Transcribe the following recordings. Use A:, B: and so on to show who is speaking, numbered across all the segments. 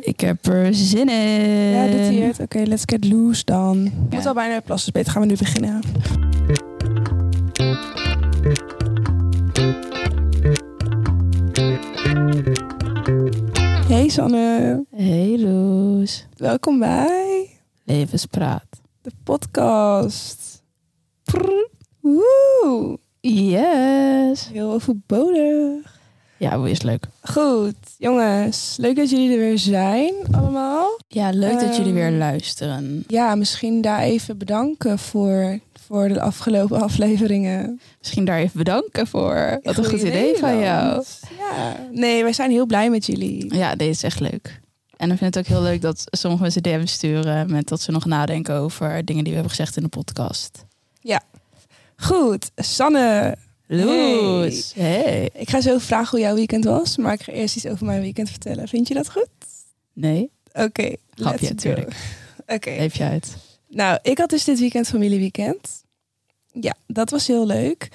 A: Ik heb er zin in.
B: Ja, doet hij het. Oké, let's get loose dan. We
A: Ehm, Ja.
B: moeten al bijna plassen, beter gaan we nu beginnen. Hey Sanne,
A: Hey Loes.
B: welkom bij
A: Levenspraat.
B: de podcast. Prr, woe,
A: Yes.
B: heel overbodig.
A: Ja, hoe is leuk.
B: Goed, jongens, leuk dat jullie er weer zijn allemaal.
A: Ja, leuk dat jullie weer
B: Ehm,
A: luisteren.
B: Ja, misschien daar even bedanken voor, voor de afgelopen afleveringen.
A: Misschien daar even bedanken voor. Wat een
B: Goeie
A: goed idee van jou.
B: Nederlands. Ja. Nee, wij zijn heel blij met jullie.
A: Ja, deze is echt leuk. En ik vind het ook heel leuk dat sommige mensen DM's sturen met dat ze nog nadenken over dingen die we hebben gezegd in de podcast.
B: Goed, Sanne.
A: Loes. Hey.
B: Ik ga zo vragen hoe jouw weekend was, maar ik ga eerst iets over mijn weekend vertellen. Vind je dat goed?
A: Nee,
B: Oké, let's
A: Grapje,
B: go.
A: tuurlijk.
B: Oké,
A: leef je uit.
B: nou, ik had dus dit weekend familieweekend. Ja, dat was heel leuk.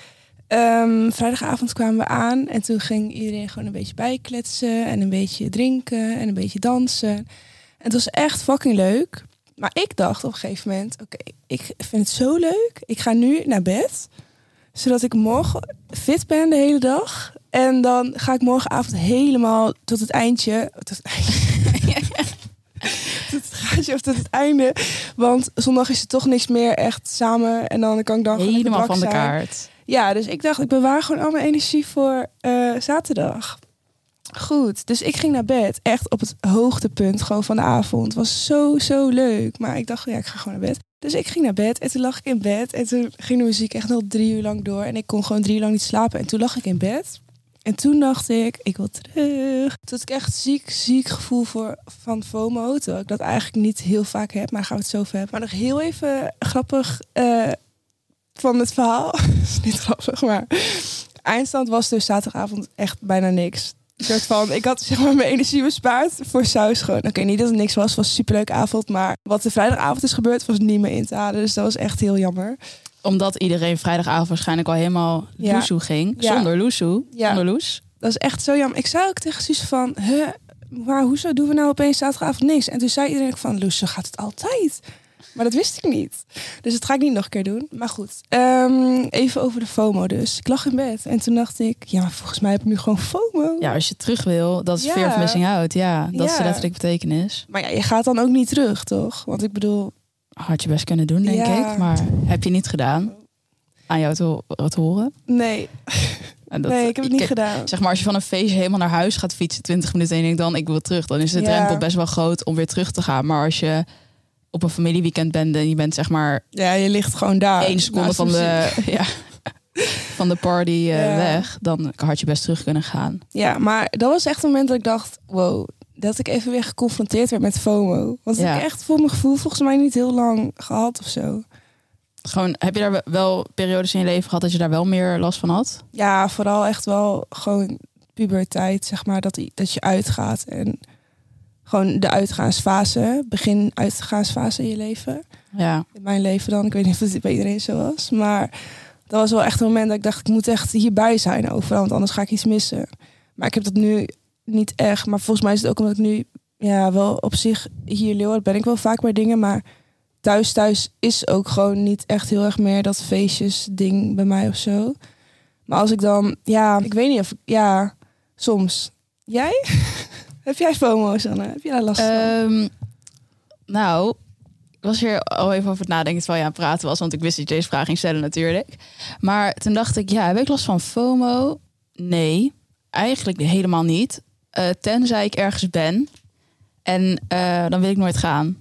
B: Ehm, vrijdagavond kwamen we aan en toen ging iedereen gewoon een beetje bijkletsen en een beetje drinken en een beetje dansen. En het was echt fucking leuk. Maar ik dacht op een gegeven moment, oké, ik vind het zo leuk. Ik ga nu naar bed, zodat ik morgen fit ben de hele dag. En dan ga ik morgenavond helemaal tot het eindje, tot het eindje, tot het gaatje of tot het einde. Want zondag is er toch niks meer echt samen. En dan kan ik dan gewoon lekker
A: Helemaal
B: brak
A: van de
B: zijn.
A: kaart.
B: Ja, dus ik dacht, ik bewaar gewoon al mijn energie voor eh, zaterdag. Goed, dus ik ging naar bed. Echt op het hoogtepunt gewoon van de avond. Was zo, zo leuk. Maar ik dacht, ja, ik ga gewoon naar bed. Dus ik ging naar bed en toen lag ik in bed. En toen ging de muziek echt nog drie uur lang door. En ik kon gewoon drie uur lang niet slapen. En toen lag ik in bed. En toen dacht ik, ik wil terug. Toen had ik echt ziek, ziek gevoel voor, van FOMO. Terwijl ik dat eigenlijk niet heel vaak heb. Maar daar gaan we het zo over hebben. Maar nog heel even grappig eh, van het verhaal. is niet grappig, maar... Eindstand was dus zaterdagavond echt bijna niks. Een soort van, ik had zeg maar mijn energie bespaard voor saus gewoon. Oké, niet dat het niks was, was een superleuke avond. Maar wat de vrijdagavond is gebeurd, was niet meer in te halen. Dus dat was echt heel jammer.
A: Omdat iedereen vrijdagavond waarschijnlijk al helemaal
B: Ja.
A: loesoe ging.
B: Ja.
A: Zonder loesoe.
B: Ja.
A: Zonder loes.
B: Dat is echt zo jammer. Ik zei ook tegen Suus van, huh, maar hoezo doen we nou opeens zaterdagavond niks? En toen zei iedereen ook van, Loes, zo gaat het altijd. Maar dat wist ik niet. Dus dat ga ik niet nog een keer doen. Maar goed, ehm, even over de FOMO dus. Ik lag in bed en toen dacht ik, ja, maar volgens mij heb ik nu gewoon FOMO.
A: Ja, als je terug wil, dat is
B: Ja.
A: fear of missing out. Ja, dat is de
B: Ja.
A: letterlijke betekenis.
B: Maar ja, je gaat dan ook niet terug, toch? Want ik bedoel,
A: Had je best kunnen doen, denk
B: Ja.
A: ik. Maar heb je niet gedaan. Aan jou te, ho- te horen.
B: nee,
A: En dat-
B: nee, ik heb het niet
A: kijk,
B: gedaan.
A: Zeg maar, als je van een feestje helemaal naar huis gaat fietsen, 20 minuten en je denkt dan, ik wil terug. Dan is de
B: Ja.
A: drempel best wel groot om weer terug te gaan. Maar als je op een familieweekend bent en je bent zeg maar
B: Ja, je ligt gewoon daar.
A: één seconde
B: Ah, naast
A: van de,
B: muziek.
A: ja, van de party eh,
B: Ja.
A: weg, dan had je best terug kunnen gaan.
B: Ja, maar dat was echt het moment dat ik dacht, wow, dat ik even weer geconfronteerd werd met FOMO. Want dat
A: Ja.
B: ik echt voor mijn gevoel volgens mij niet heel lang gehad of zo.
A: Gewoon, heb je daar wel periodes in je leven gehad dat je daar wel meer last van had?
B: Ja, vooral echt wel gewoon puberteit, zeg maar, dat, i- dat je uitgaat en gewoon de uitgaansfase, begin uitgaansfase in je leven.
A: Ja.
B: in mijn leven dan. Ik weet niet of het bij iedereen zo was. Maar dat was wel echt een moment dat ik dacht, ik moet echt hierbij zijn overal, want anders ga ik iets missen. Maar ik heb dat nu niet echt. Maar volgens mij is het ook omdat ik nu, ja, wel op zich hier in Leeuwarden ben ik wel vaak bij dingen, maar thuis thuis is ook gewoon niet echt heel erg meer dat feestjes ding bij mij of zo. Maar als ik dan, ja, ik weet niet of, ik- ja, soms. Jij? heb jij FOMO's, Anne? Heb je daar last van?
A: Eh, Ehm, nou, ik was hier al even over het nadenken terwijl je aan het praten was, want ik wist dat je deze vraag ging stellen natuurlijk. Maar toen dacht ik, ja, heb ik last van FOMO? Nee, eigenlijk helemaal niet. Eh, tenzij ik ergens ben en eh, dan wil ik nooit gaan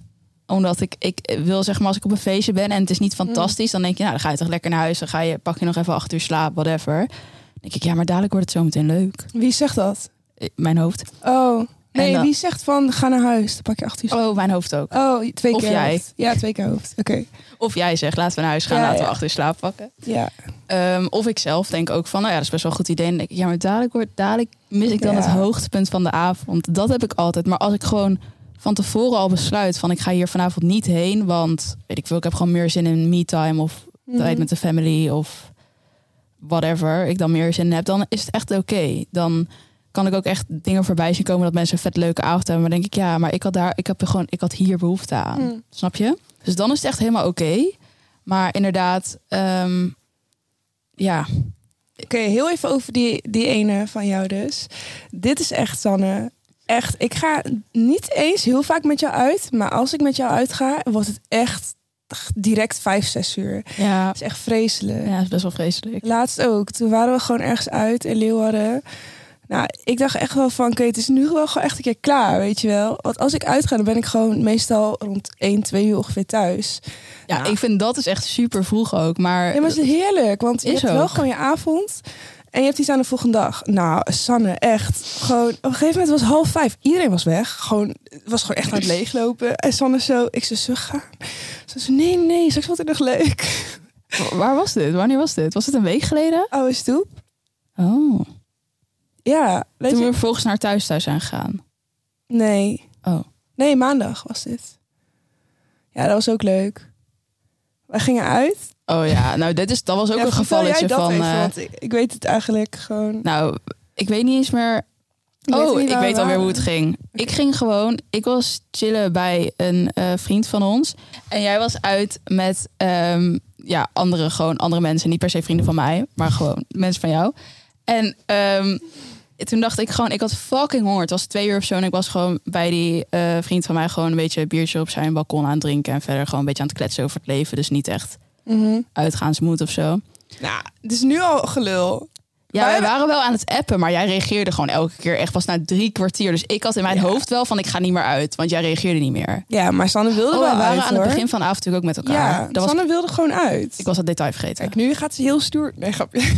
A: omdat ik, ik wil zeg maar, als ik op een feestje ben en het is niet fantastisch, dan denk je, nou, dan ga je toch lekker naar huis, dan ga je, pak je nog even acht uur slaap, whatever. Dan denk ik, ja, maar dadelijk wordt het zometeen leuk.
B: Wie zegt dat?
A: Eh, Mijn hoofd.
B: Oh, nee,
A: dan-
B: wie zegt van ga naar huis, dan pak je acht uur.
A: eh, Oh, mijn hoofd ook.
B: Oh, twee
A: Of
B: keer
A: jij.
B: hoofd. Ja, twee keer hoofd. Oké.
A: Of jij zegt, laten we naar huis gaan,
B: Ja,
A: laten we
B: ja.
A: achter slaap pakken.
B: Ja.
A: Ehm, of ik zelf denk ook van, nou ja, dat is best wel een goed idee. En dan denk ik, ja, maar dadelijk, wordt, dadelijk mis ik dan
B: Ja.
A: het hoogtepunt van de avond. Dat heb ik altijd. Maar als ik gewoon van tevoren al besluit van, ik ga hier vanavond niet heen, want weet ik veel, ik heb gewoon meer zin in me-time of tijd
B: Mhm.
A: met de family of whatever ik dan meer zin in heb, dan is het echt oké. Dan kan ik ook echt dingen voorbij zien komen dat mensen een vet leuke avond hebben. Maar dan denk ik, ja, maar ik had daar, ik heb er gewoon, ik had hier behoefte aan.
B: Mm.
A: Snap je? Dus dan is het echt helemaal oké. Maar inderdaad, ehm, ja,
B: Oké, heel even over die, die ene van jou dus. Dit is echt, Sanne. Echt, ik ga niet eens heel vaak met jou uit. Maar als ik met jou uitga, wordt het echt direct vijf, zes uur. Het
A: ja,
B: is echt vreselijk.
A: ja, is best wel vreselijk.
B: Laatst ook. Toen waren we gewoon ergens uit in Leeuwarden. Nou, ik dacht echt wel van, oké, het is nu wel gewoon echt een keer klaar, weet je wel. Want als ik uitga, dan ben ik gewoon meestal rond 1, 2 uur ongeveer thuis.
A: Ja, ik vind dat is echt super vroeg ook. Maar,
B: Ja, maar het is heerlijk, want je
A: Is
B: hebt wel
A: ook.
B: gewoon je avond en je hebt iets aan de volgende dag. Nou, Sanne, echt. Gewoon, op een gegeven moment was het half vijf. Iedereen was weg. Gewoon, het was gewoon echt aan het leeglopen. En Sanne zo, ik zei, zo gaan? Ze zei, nee, nee, straks wordt het nog leuk.
A: waar was dit? Wanneer was dit? Was het een week geleden?
B: Oude stoep.
A: Oh.
B: Ja, weet
A: Toen
B: je.
A: we vervolgens naar thuis thuis zijn gegaan.
B: Nee.
A: Oh.
B: Nee, maandag was dit. Ja, dat was ook leuk. Wij gingen uit.
A: Oh ja, nou dit is, dat was ook
B: Ja,
A: een
B: vertel
A: gevalletje
B: jij dat
A: van...
B: even,
A: eh,
B: want ik, ik weet het eigenlijk gewoon.
A: nou, ik weet niet eens meer...
B: Ik weet
A: oh,
B: niet
A: ik
B: waar we
A: weet alweer
B: waren.
A: hoe het ging. Ik ging gewoon... Ik was chillen bij een eh, vriend van ons. En jij was uit met ehm, ja, andere, gewoon andere mensen. Niet per se vrienden van mij, maar gewoon mensen van jou. En ehm, toen dacht ik gewoon... Ik had fucking honger. Het was twee uur of zo. En ik was gewoon bij die eh, vriend van mij... gewoon een beetje biertje op zijn balkon aan het drinken. En verder gewoon een beetje aan het kletsen over het leven. Dus niet echt
B: Mhm.
A: uitgaansmoed of zo.
B: Nou, het is nu al gelul.
A: Ja, wij waren wel aan het appen, maar jij reageerde gewoon elke keer echt pas na drie kwartier. Dus ik had in mijn
B: Ja.
A: hoofd wel van ik ga niet meer uit, want jij reageerde niet meer.
B: Ja, maar Sanne wilde
A: Oh,
B: wel
A: wij waren
B: uit,
A: aan
B: hoor.
A: het begin van de avond natuurlijk ook met elkaar.
B: Ja,
A: dat was,
B: Sanne wilde gewoon uit.
A: ik was dat detail vergeten.
B: Kijk, nu gaat ze heel stoer. Nee, grapje.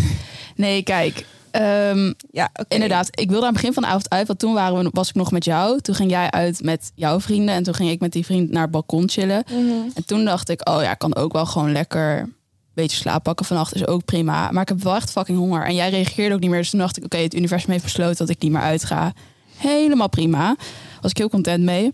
A: Nee, kijk. ehm,
B: Ja, oké.
A: Inderdaad, ik wilde aan het begin van de avond uit, want toen waren we, was ik nog met jou. Toen ging jij uit met jouw vrienden en toen ging ik met die vriend naar het balkon chillen.
B: Mhm.
A: En toen dacht ik, oh ja, ik kan ook wel gewoon lekker een beetje slaap pakken vannacht, is ook prima. Maar ik heb wel echt fucking honger. En jij reageerde ook niet meer, dus toen dacht ik, oké, het universum heeft besloten dat ik niet meer uitga. Helemaal prima. Was ik heel content mee.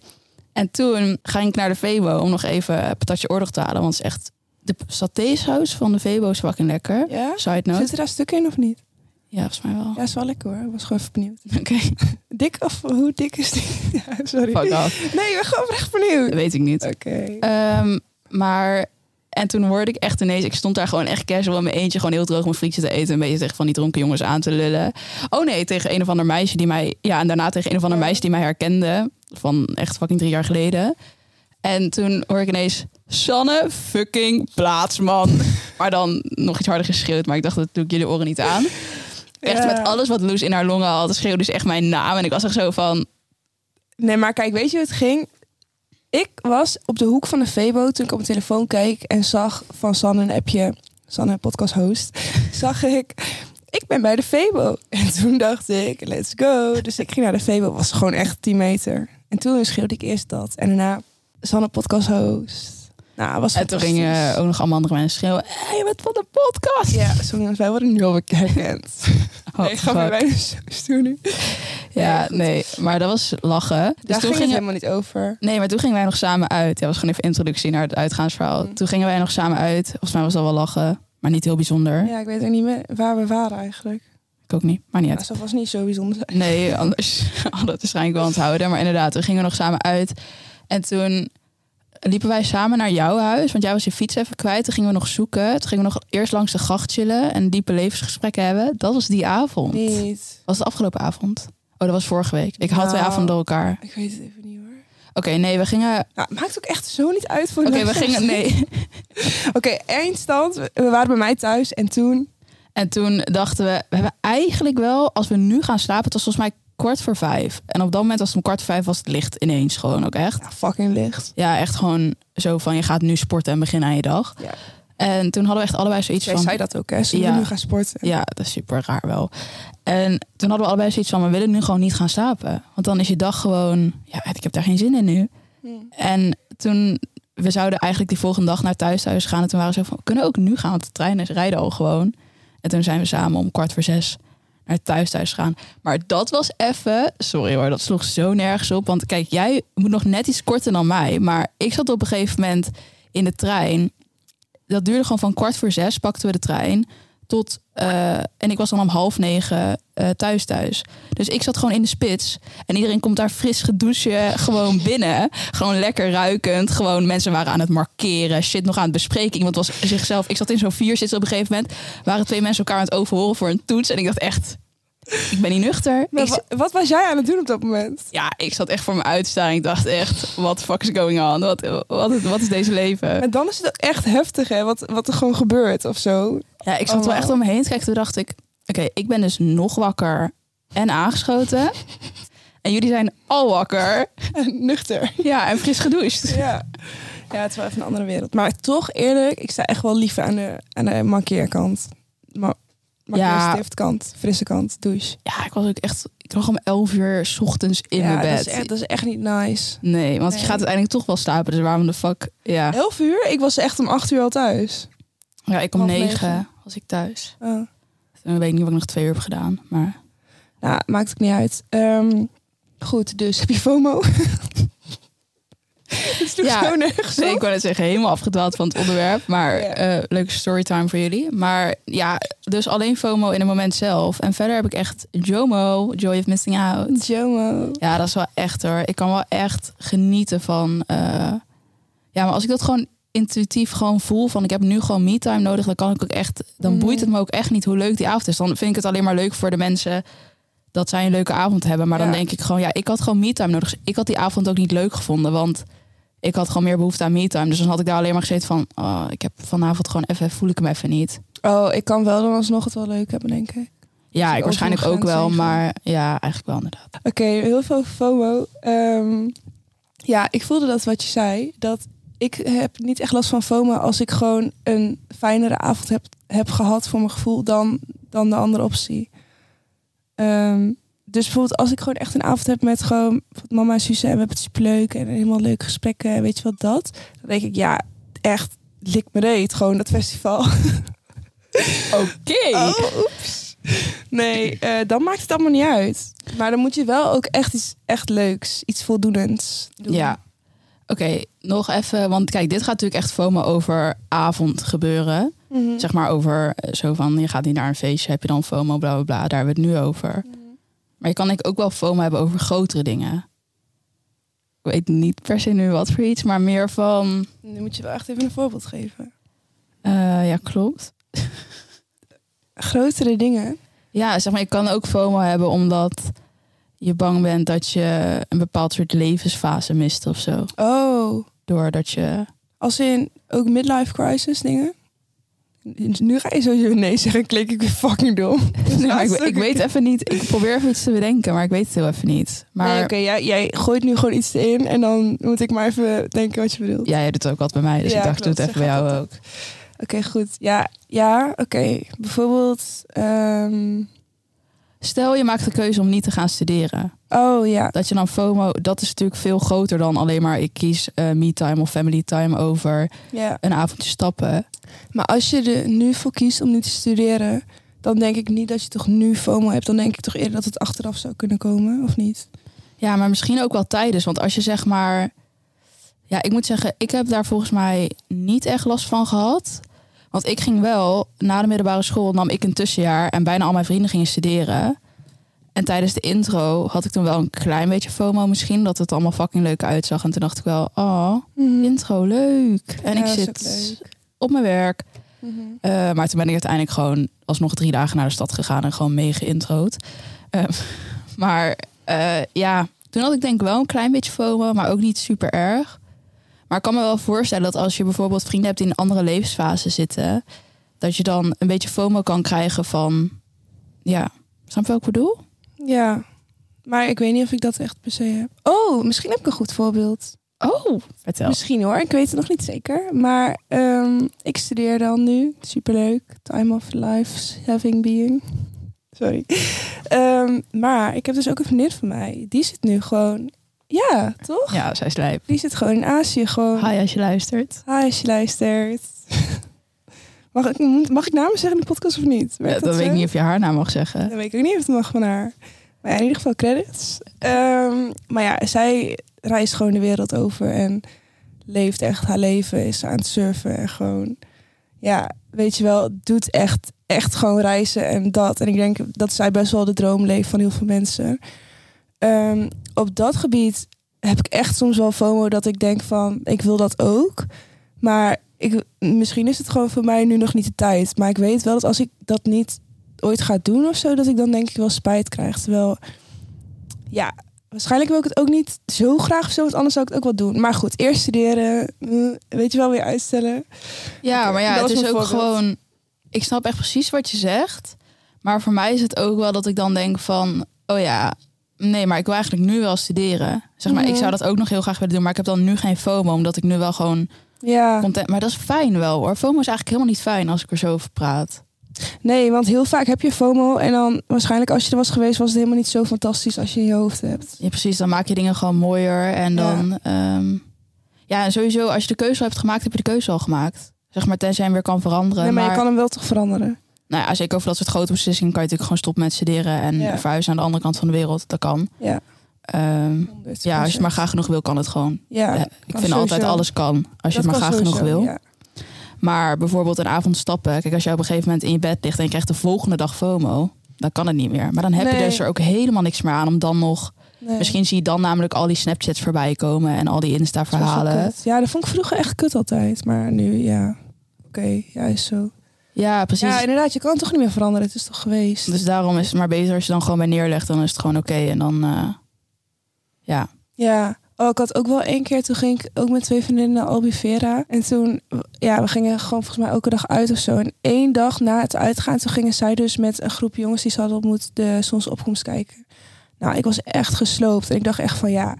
A: En toen ging ik naar de Vebo om nog even een patatje oorlog te halen, want het is echt... De satésaus van de Vebo is fucking lekker.
B: Ja?
A: Side note.
B: Zitten daar stukken in of niet?
A: Ja, volgens mij wel.
B: Ja, is wel lekker hoor. Ik was gewoon even benieuwd.
A: Oké,
B: Dik of hoe dik is die? Ja, sorry.
A: fuck off.
B: Nee, ik ben gewoon echt benieuwd.
A: Dat
B: Oké.
A: weet ik niet. Ehm, maar, en toen hoorde ik echt ineens, ik stond daar gewoon echt casual in mijn eentje, gewoon heel droog mijn frietje te eten, een beetje tegen van die dronken jongens aan te lullen. Oh nee, tegen een of ander meisje die mij, ja, en daarna tegen een of ander
B: Ja.
A: meisje die mij herkende, van echt fucking drie jaar geleden. En toen hoor ik ineens, Sanne fucking plaatsman. maar dan nog iets harder geschreeuwd, maar ik dacht, dat doe ik jullie oren niet aan. Echt
B: Ja.
A: met alles wat Loes in haar longen had, schreeuwde ze echt mijn naam. En ik was echt zo van,
B: Nee, maar kijk, weet je hoe het ging? Ik was op de hoek van de Febo toen ik op mijn telefoon keek en zag van Sanne een appje. Sanne, podcast host. zag ik, ik ben bij de Febo. En toen dacht ik, let's go. Dus ik ging naar de Febo, was gewoon echt 10 meter. En toen schreeuwde ik eerst dat. En daarna, Sanne, podcast host. Nou, was
A: en toen eh, gingen
B: fantastisch.
A: ook nog allemaal andere mensen schreeuwen, hey, je bent van de podcast.
B: Ja, sorry, want wij worden nu al herkend.
A: Oh,
B: nee, ga maar
A: fuck.
B: bijna zo stoer nu. Ja,
A: Ja,
B: goed.
A: nee, maar dat was lachen. Dus toen
B: Daar ging het
A: gingen,
B: helemaal niet over.
A: nee, maar toen gingen wij nog samen uit. Ja, was gewoon even introductie naar het uitgaansverhaal.
B: Mm.
A: Toen gingen wij nog samen uit. Volgens mij was dat wel lachen, maar niet heel bijzonder.
B: Ja, ik weet ook niet meer waar we waren eigenlijk.
A: Ik ook niet, maar niet
B: Nou,
A: uit.
B: ze was niet zo bijzonder. zijn.
A: Nee, anders had het waarschijnlijk wel onthouden. Maar inderdaad, toen gingen we nog samen uit. En toen liepen wij samen naar jouw huis, want jij was je fiets even kwijt. Toen gingen we nog zoeken. Toen gingen we nog eerst langs de gracht chillen en diepe levensgesprekken hebben. Dat was die avond.
B: Niet.
A: Was de afgelopen avond? Oh, dat was vorige week. Ik had twee
B: Nou.
A: avonden door elkaar.
B: Ik weet het even niet hoor.
A: Oké, nee, we gingen
B: Nou, het maakt ook echt zo niet uit voor de
A: Oké, we
B: luisteraars.
A: gingen. Nee.
B: Oké, eindstand. We we waren bij mij thuis en toen...
A: En toen dachten we, we hebben eigenlijk wel, als we nu gaan slapen, het was volgens mij kwart voor vijf. En op dat moment was het om kwart voor vijf, was het licht ineens gewoon ook echt.
B: Ja, fucking licht.
A: Ja, echt gewoon zo van je gaat nu sporten en begin aan je dag.
B: Ja.
A: En toen hadden we echt allebei zoiets
B: Jij
A: van.
B: zei dat ook hè, ze willen
A: Ja.
B: nu gaan sporten.
A: Ja, dat is super raar wel. En toen hadden we allebei zoiets van, we willen nu gewoon niet gaan slapen. Want dan is je dag gewoon, ja, ik heb daar geen zin in nu.
B: Hmm.
A: En toen, we zouden eigenlijk die volgende dag naar thuis thuis gaan. En toen waren ze van, we kunnen ook nu gaan, want de treinen rijden al gewoon. En toen zijn we samen om kwart voor zes naar thuis thuis gaan. Maar dat was even, sorry hoor, dat sloeg zo nergens op. Want kijk, jij moet nog net iets korter dan mij. Maar ik zat op een gegeven moment in de trein. Dat duurde gewoon van kwart voor zes, pakten we de trein. Tot, eh, en ik was dan om half negen eh, thuis thuis. Dus ik zat gewoon in de spits. En iedereen komt daar fris gedouchen gewoon binnen. Gewoon lekker ruikend. Gewoon mensen waren aan het markeren. Shit nog aan het bespreken. Iemand was zichzelf... Ik zat in zo'n vierzits op een gegeven moment. Waren twee mensen elkaar aan het overhoren voor een toets. En ik dacht echt... Ik ben niet nuchter.
B: Maar
A: Ik-
B: wa- wat was jij aan het doen op dat moment?
A: ja, ik zat echt voor mijn uitstaring. Ik dacht echt, what the fuck is going on? Wat, wat, wat is deze leven?
B: En dan is het ook echt heftig, hè? Wat, wat er gewoon gebeurt of zo.
A: Ja, ik zat
B: Oh,
A: wel
B: wauw.
A: echt om me heen te kijken. Toen dacht ik, oké, ik ben dus nog wakker en aangeschoten. En jullie zijn al wakker.
B: En nuchter.
A: Ja, en fris gedoucht.
B: Ja. ja, het is wel even een andere wereld. Maar toch eerlijk, ik sta echt wel liever aan de, aan de mankeerkant. Ma Markeerstiftkant, frisse kant, douche.
A: Ja, ik was ook echt... Ik lag om 11 uur 's ochtends in
B: ja,
A: mijn bed.
B: Dat is, echt, dat is echt niet nice.
A: Nee, want
B: Nee.
A: je gaat uiteindelijk toch wel slapen. Dus waarom de fuck... Ja,
B: Elf uur? Ik was echt om acht uur al thuis.
A: ja ik om
B: half
A: negen
B: negen.
A: was ik thuis.
B: Oh.
A: Toen weet ik niet wat ik nog twee uur heb gedaan. Maar
B: Nou, maakt ook niet uit. Ehm, goed, dus heb je FOMO? Het sloeg
A: Ja,
B: zo nergens
A: Nee, ik
B: op.
A: wou net zeggen, helemaal afgedwaald van het onderwerp. Maar
B: Ja.
A: eh, leuke storytime voor jullie. Maar ja, dus alleen FOMO in het moment zelf. En verder heb ik echt JOMO, Joy of Missing Out.
B: Jomo.
A: Ja, dat is wel echt hoor. Ik kan wel echt genieten van... eh, Ja, maar als ik dat gewoon intuïtief gewoon voel van ik heb nu gewoon me-time nodig, dan kan ik ook echt, dan
B: Mm.
A: boeit het me ook echt niet hoe leuk die avond is. Dan vind ik het alleen maar leuk voor de mensen dat zij een leuke avond hebben. Maar
B: Ja.
A: dan denk ik gewoon, ja, ik had gewoon me-time nodig. Dus Ik had die avond ook niet leuk gevonden, want ik had gewoon meer behoefte aan me-time. Dus dan had ik daar alleen maar gezeten van, oh, ik heb vanavond gewoon even, voel ik hem even niet.
B: Oh, ik kan wel dan alsnog het wel leuk hebben, denk ik.
A: Ja,
B: je
A: ik waarschijnlijk
B: over
A: ook
B: de grens
A: wel,
B: heen gaan?
A: maar ja, eigenlijk wel inderdaad.
B: Oké, heel veel FOMO. Ehm, ja, ik voelde dat wat je zei. Dat ik heb niet echt last van FOMO als ik gewoon een fijnere avond heb, heb gehad voor mijn gevoel dan, dan de andere optie. Ehm, dus bijvoorbeeld als ik gewoon echt een avond heb met gewoon bijvoorbeeld mama en Suze en we hebben het superleuk en helemaal leuke gesprekken en weet je wat dat. Dan denk ik, ja, echt, lik me reet, gewoon dat festival.
A: Oké.
B: Oh, oeps. Nee, eh, dan maakt het allemaal niet uit. Maar dan moet je wel ook echt iets echt leuks, iets voldoenends doen.
A: Ja. Oké, nog even, want kijk, dit gaat natuurlijk echt FOMO over avond gebeuren.
B: Mhm.
A: zeg maar over eh, zo van je gaat niet naar een feestje, heb je dan FOMO, bla bla bla. Daar hebben we het nu over.
B: Mhm.
A: Maar je kan denk ik ook wel FOMO hebben over grotere dingen. Ik weet niet per se nu wat voor iets, maar meer van.
B: Nu moet je wel echt even een voorbeeld geven.
A: eh, ja, klopt.
B: Grotere dingen.
A: Ja, zeg maar, je kan ook FOMO hebben omdat je bang bent dat je een bepaald soort levensfase mist of zo.
B: Oh,
A: Doordat je.
B: als in ook midlife crisis dingen. Nu ga je sowieso nee zeggen, klink ik weer fucking dom.
A: Nee, maar Nou, ik, ik weet even niet. Ik probeer even iets te bedenken, maar ik weet het heel even niet. Maar
B: Nee, oké, jij, jij gooit nu gewoon iets in en dan moet ik maar even denken wat je bedoelt.
A: ja, jij doet het ook wat bij mij, dus
B: Ja,
A: ik dacht,
B: klopt,
A: doe het
B: zo
A: even bij
B: gaat
A: jou
B: dat
A: ook.
B: Oké, goed. Ja, ja oké. Bijvoorbeeld, ehm,
A: Stel, je maakt de keuze om niet te gaan studeren.
B: oh ja,
A: Dat je dan FOMO, dat is natuurlijk veel groter dan alleen maar ik kies eh me-time of family time over
B: Ja,
A: een avondje stappen.
B: maar als je er nu voor kiest om nu te studeren, dan denk ik niet dat je toch nu FOMO hebt. Dan denk ik toch eerder dat het achteraf zou kunnen komen, of niet?
A: Ja, maar misschien ook wel tijdens. Want als je zeg maar. Ja, ik moet zeggen, ik heb daar volgens mij niet echt last van gehad. Want ik ging wel, na de middelbare school nam ik een tussenjaar en bijna al mijn vrienden gingen studeren. En tijdens de intro had ik toen wel een klein beetje FOMO misschien, dat het allemaal fucking leuk uitzag. En toen dacht ik wel, oh,
B: Mhm.
A: intro leuk. En
B: Ja,
A: ik
B: dat is
A: zit
B: ook
A: op mijn werk.
B: Mhm.
A: Eh, maar toen ben ik uiteindelijk gewoon alsnog drie dagen naar de stad gegaan en gewoon mee geïntrood. Eh, maar eh, ja, toen had ik denk ik wel een klein beetje FOMO, maar ook niet super erg. Maar ik kan me wel voorstellen dat als je bijvoorbeeld vrienden hebt die in een andere levensfase zitten, dat je dan een beetje FOMO kan krijgen van, ja, snap je wat ik bedoel?
B: Ja, maar ik weet niet of ik dat echt per se heb. Oh, misschien heb ik een goed voorbeeld.
A: Oh, vertel.
B: Misschien hoor, ik weet het nog niet zeker. Maar ehm, ik studeer dan nu. Superleuk. Time of life, having being. Sorry. Ehm, maar ik heb dus ook een vriendin van mij. Die zit nu gewoon... Ja, toch?
A: Ja, zij slijp.
B: Die zit gewoon in Azië. Gewoon
A: Hi als je luistert.
B: Hi, als je luistert. Mag ik, mag ik namen zeggen in de podcast of niet? Werkt
A: Ja, dan weet
B: zo?
A: ik niet of je haar naam mag zeggen.
B: Dan weet ik ook niet of het mag van haar. Maar ja, in ieder geval credits. Ehm, maar ja, zij reist gewoon de wereld over en leeft echt haar leven. Is aan het surfen en gewoon... Ja, weet je wel, doet echt echt gewoon reizen en dat. En ik denk dat zij best wel de droom leeft van heel veel mensen. Ehm, op dat gebied heb ik echt soms wel FOMO dat ik denk van, ik wil dat ook. Maar ik, misschien is het gewoon voor mij nu nog niet de tijd. Maar ik weet wel dat als ik dat niet ooit ga doen of zo, dat ik dan denk ik wel spijt krijg. Terwijl, ja, waarschijnlijk wil ik het ook niet zo graag of zo, want anders zou ik het ook wel doen. Maar goed, eerst studeren, eh, weet je wel, weer uitstellen.
A: Ja,
B: Oké,
A: maar ja,
B: dat
A: het
B: was
A: is ook
B: mijn voorbeeld.
A: gewoon. Ik snap echt precies wat je zegt. Maar voor mij is het ook wel dat ik dan denk van, oh ja, nee, maar ik wil eigenlijk nu wel studeren. Zeg maar, ik
B: Mhm.
A: zou dat ook nog heel graag willen doen, maar ik heb dan nu geen FOMO, omdat ik nu wel gewoon
B: Ja.
A: content. Maar dat is fijn wel hoor. FOMO is eigenlijk helemaal niet fijn als ik er zo over praat.
B: Nee, want heel vaak heb je FOMO en dan waarschijnlijk als je er was geweest, was het helemaal niet zo fantastisch als je in je hoofd hebt.
A: Ja, precies, dan maak je dingen gewoon mooier en
B: Ja.
A: dan. Ja, ja en sowieso, als je de keuze al hebt gemaakt, heb je de keuze al gemaakt. Zeg maar, tenzij je hem weer kan veranderen.
B: Nee, maar je kan hem wel toch veranderen.
A: Nou ja, zeker over dat soort grote beslissingen kan je natuurlijk gewoon stoppen met studeren en
B: Ja.
A: verhuizen naar de andere kant van de wereld. Dat kan.
B: Ja.
A: Ehm, ja, als je het maar graag genoeg wil, kan het gewoon.
B: Ja,
A: Eh,
B: dat
A: ik
B: kan
A: vind altijd
B: sowieso.
A: alles kan, als je
B: kan
A: het maar graag
B: sowieso,
A: genoeg wil.
B: ja.
A: Maar bijvoorbeeld een avond stappen. Kijk, als je op een gegeven moment in je bed ligt en je krijgt de volgende dag FOMO, dan kan het niet meer. Maar dan heb je
B: Nee.
A: dus er ook helemaal niks meer aan om dan nog...
B: Nee.
A: Misschien zie je dan namelijk al die Snapchats voorbij komen en al die
B: Dat is wel
A: Insta-verhalen.
B: kut. Ja, dat vond ik vroeger echt kut altijd, maar nu ja. Oké, ja, is zo.
A: Ja, precies.
B: Ja, inderdaad, je kan toch niet meer veranderen. Het is toch geweest.
A: Dus daarom is het maar beter als je dan gewoon bij neerlegt. Dan is het gewoon oké en dan... eh, ja,
B: Ja. Oh, ik had ook wel één keer, toen ging ik ook met twee vriendinnen naar Albufeira. En toen, ja, we gingen gewoon volgens mij elke dag uit of zo. En één dag na het uitgaan, toen gingen zij dus met een groep jongens die ze hadden ontmoet de zonsopkomst kijken. Nou, ik was echt gesloopt. En ik dacht echt van, ja,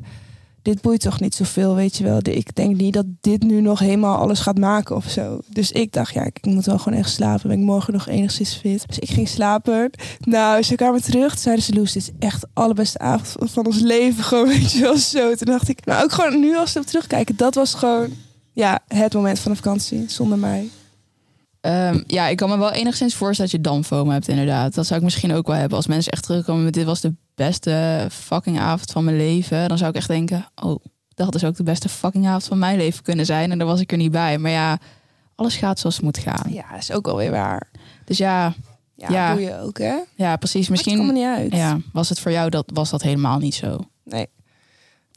B: dit boeit toch niet zoveel, weet je wel. Ik denk niet dat dit nu nog helemaal alles gaat maken of zo. Dus ik dacht, ja, ik moet wel gewoon echt slapen. Ben ik morgen nog enigszins fit? Dus ik ging slapen. Nou, ze kwamen terug. Toen zeiden ze, Loes, dit is echt de allerbeste avond van ons leven. Gewoon, weet je wel, zo. Toen dacht ik, nou, ook gewoon nu als we op terugkijken. Dat was gewoon, ja, het moment van de vakantie. Zonder mij.
A: Ehm, ja, ik kan me wel enigszins voorstellen dat je dan FOMO hebt, inderdaad. Dat zou ik misschien ook wel hebben. Als mensen echt terugkomen met dit was de beste fucking avond van mijn leven. Dan zou ik echt denken, oh, dat is ook de beste fucking avond van mijn leven kunnen zijn. En daar was ik er niet bij. Maar ja, alles gaat zoals het moet gaan.
B: Ja, is ook alweer waar.
A: Dus ja,
B: Ja,
A: Ja.
B: doe je ook, hè?
A: ja precies.
B: Maakt het
A: Misschien
B: allemaal niet uit.
A: ja, was het voor jou, dat, was dat helemaal niet zo.
B: Nee.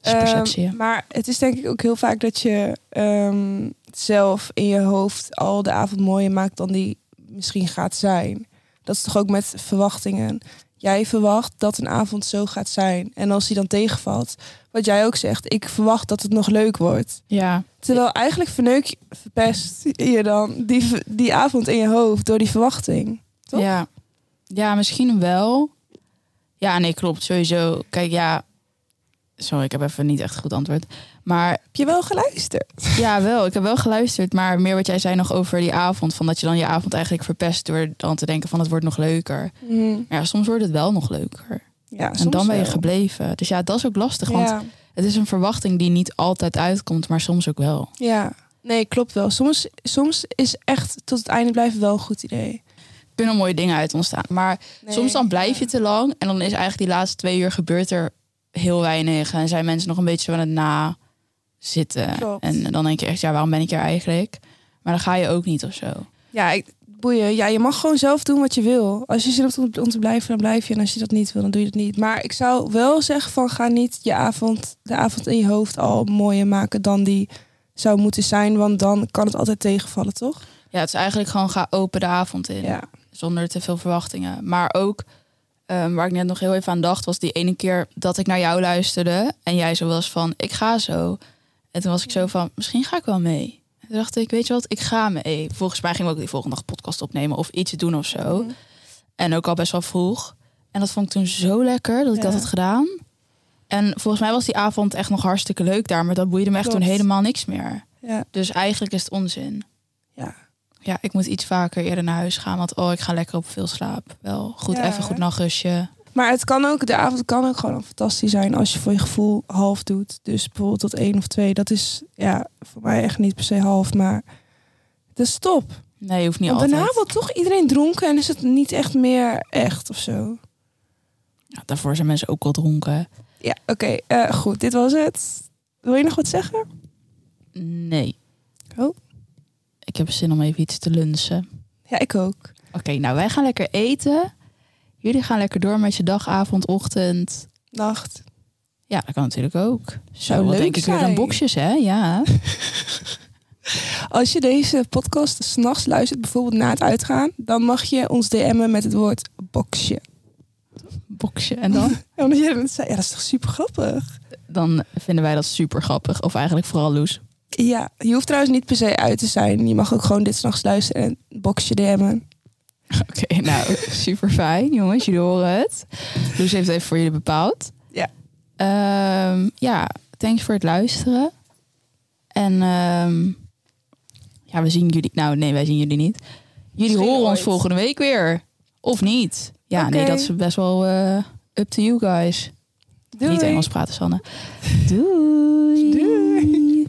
A: Dat is perceptie,
B: Ehm,
A: hè?
B: maar het is denk ik ook heel vaak dat je ehm, zelf in je hoofd al de avond mooier maakt dan die misschien gaat zijn. Dat is toch ook met verwachtingen. Jij verwacht dat een avond zo gaat zijn. En als die dan tegenvalt, wat jij ook zegt, ik verwacht dat het nog leuk wordt.
A: Ja,
B: Terwijl eigenlijk verneuk je, verpest je dan die, v- die avond in je hoofd door die verwachting. Toch?
A: Ja. ja, misschien wel. Ja, nee, klopt. Sowieso. Kijk, ja... Sorry, ik heb even niet echt goed antwoord. Maar
B: Heb je wel geluisterd?
A: Ja, wel. Ik heb wel geluisterd. Maar meer wat jij zei nog over die avond. Van dat je dan je avond eigenlijk verpest door dan te denken van het wordt nog leuker. Maar ja, soms wordt het wel nog leuker.
B: Ja,
A: Mm. en
B: soms
A: dan ben je
B: wel.
A: gebleven. Dus ja, dat is ook lastig. Want
B: Ja.
A: het is een verwachting die niet altijd uitkomt, maar soms ook wel.
B: Ja, nee, klopt wel. Soms, soms is echt tot het einde blijven wel een goed idee.
A: Er kunnen mooie dingen uit ontstaan. Maar soms dan blijf je te lang. En dan is eigenlijk die laatste twee uur gebeurt er heel weinig. En zijn mensen nog een beetje zo aan het na zitten.
B: Klopt.
A: En dan denk je echt, ja, waarom ben ik hier eigenlijk? Maar dan ga je ook niet of zo.
B: Ja, ik, boeien. Ja, je mag gewoon zelf doen wat je wil. Als je zin hebt om te- om te blijven, dan blijf je. En als je dat niet wil, dan doe je het niet. Maar ik zou wel zeggen van ga niet je avond, de avond in je hoofd al mooier maken dan die zou moeten zijn. Want dan kan het altijd tegenvallen, toch?
A: Ja, het is eigenlijk gewoon ga open de avond in. zonder te veel verwachtingen. Maar ook ehm, waar ik net nog heel even aan dacht, was die ene keer dat ik naar jou luisterde en jij zo was van ik ga zo. En toen was ik zo van misschien ga ik wel mee. En toen dacht ik, weet je wat, ik ga mee. Volgens mij gingen we ook die volgende dag podcast opnemen of iets doen of zo.
B: Mhm.
A: En ook al best wel vroeg. En dat vond ik toen zo lekker dat ik dat
B: Ja.
A: had gedaan. En volgens mij was die avond echt nog hartstikke leuk daar, maar dat boeide me echt
B: Klopt.
A: toen helemaal niks meer.
B: Ja.
A: Dus eigenlijk is het onzin.
B: Ja.
A: Ja, ik moet iets vaker eerder naar huis gaan. Want oh, ik ga lekker op veel slaap. Wel goed,
B: Ja,
A: even goed
B: hè?
A: nachtrustje.
B: Maar het kan ook, de avond kan ook gewoon fantastisch zijn als je voor je gevoel half doet. Dus bijvoorbeeld tot één of twee. Dat is ja, voor mij echt niet per se half, maar dat is top.
A: Nee, hoeft niet
B: Want
A: altijd.
B: daarna wordt toch iedereen dronken en is het niet echt meer echt of zo.
A: Ja, daarvoor zijn mensen ook al dronken.
B: Ja, oké. eh, goed, dit was het. Wil je nog wat zeggen?
A: Nee.
B: Oh.
A: Ik heb zin om even iets te lunchen.
B: Ja, ik ook.
A: Oké, nou wij gaan lekker eten. Jullie gaan lekker door met je dag, avond, ochtend.
B: Nacht.
A: Ja, dat kan natuurlijk ook. Zo,
B: Zou
A: wat
B: leuk
A: denk ik weer
B: zijn.
A: aan boxjes, hè? Ja.
B: Als je deze podcast s'nachts luistert, bijvoorbeeld na het uitgaan, dan mag je ons DM'en met het woord boxje.
A: Boxje. En dan?
B: En omdat jij dat zei, ja, dat is toch super grappig?
A: Dan vinden wij dat super grappig. Of eigenlijk vooral Loes.
B: Ja, je hoeft trouwens niet per se uit te zijn. Je mag ook gewoon dit s'nachts luisteren en boxje DM'en.
A: Oké, nou super fijn, jongens. Jullie horen het. Loes heeft even voor jullie bepaald.
B: Ja.
A: Ehm, ja, thanks voor het luisteren. En ehm, ja, we zien jullie. Nou, nee, wij zien jullie niet. Jullie
B: Misschien
A: horen ons
B: ooit.
A: volgende week weer. Of niet. Ja, nee,
B: Oké.
A: dat is best wel eh, up to you guys.
B: Doei.
A: Niet Engels praten, Sanne. Doei.
B: Doei.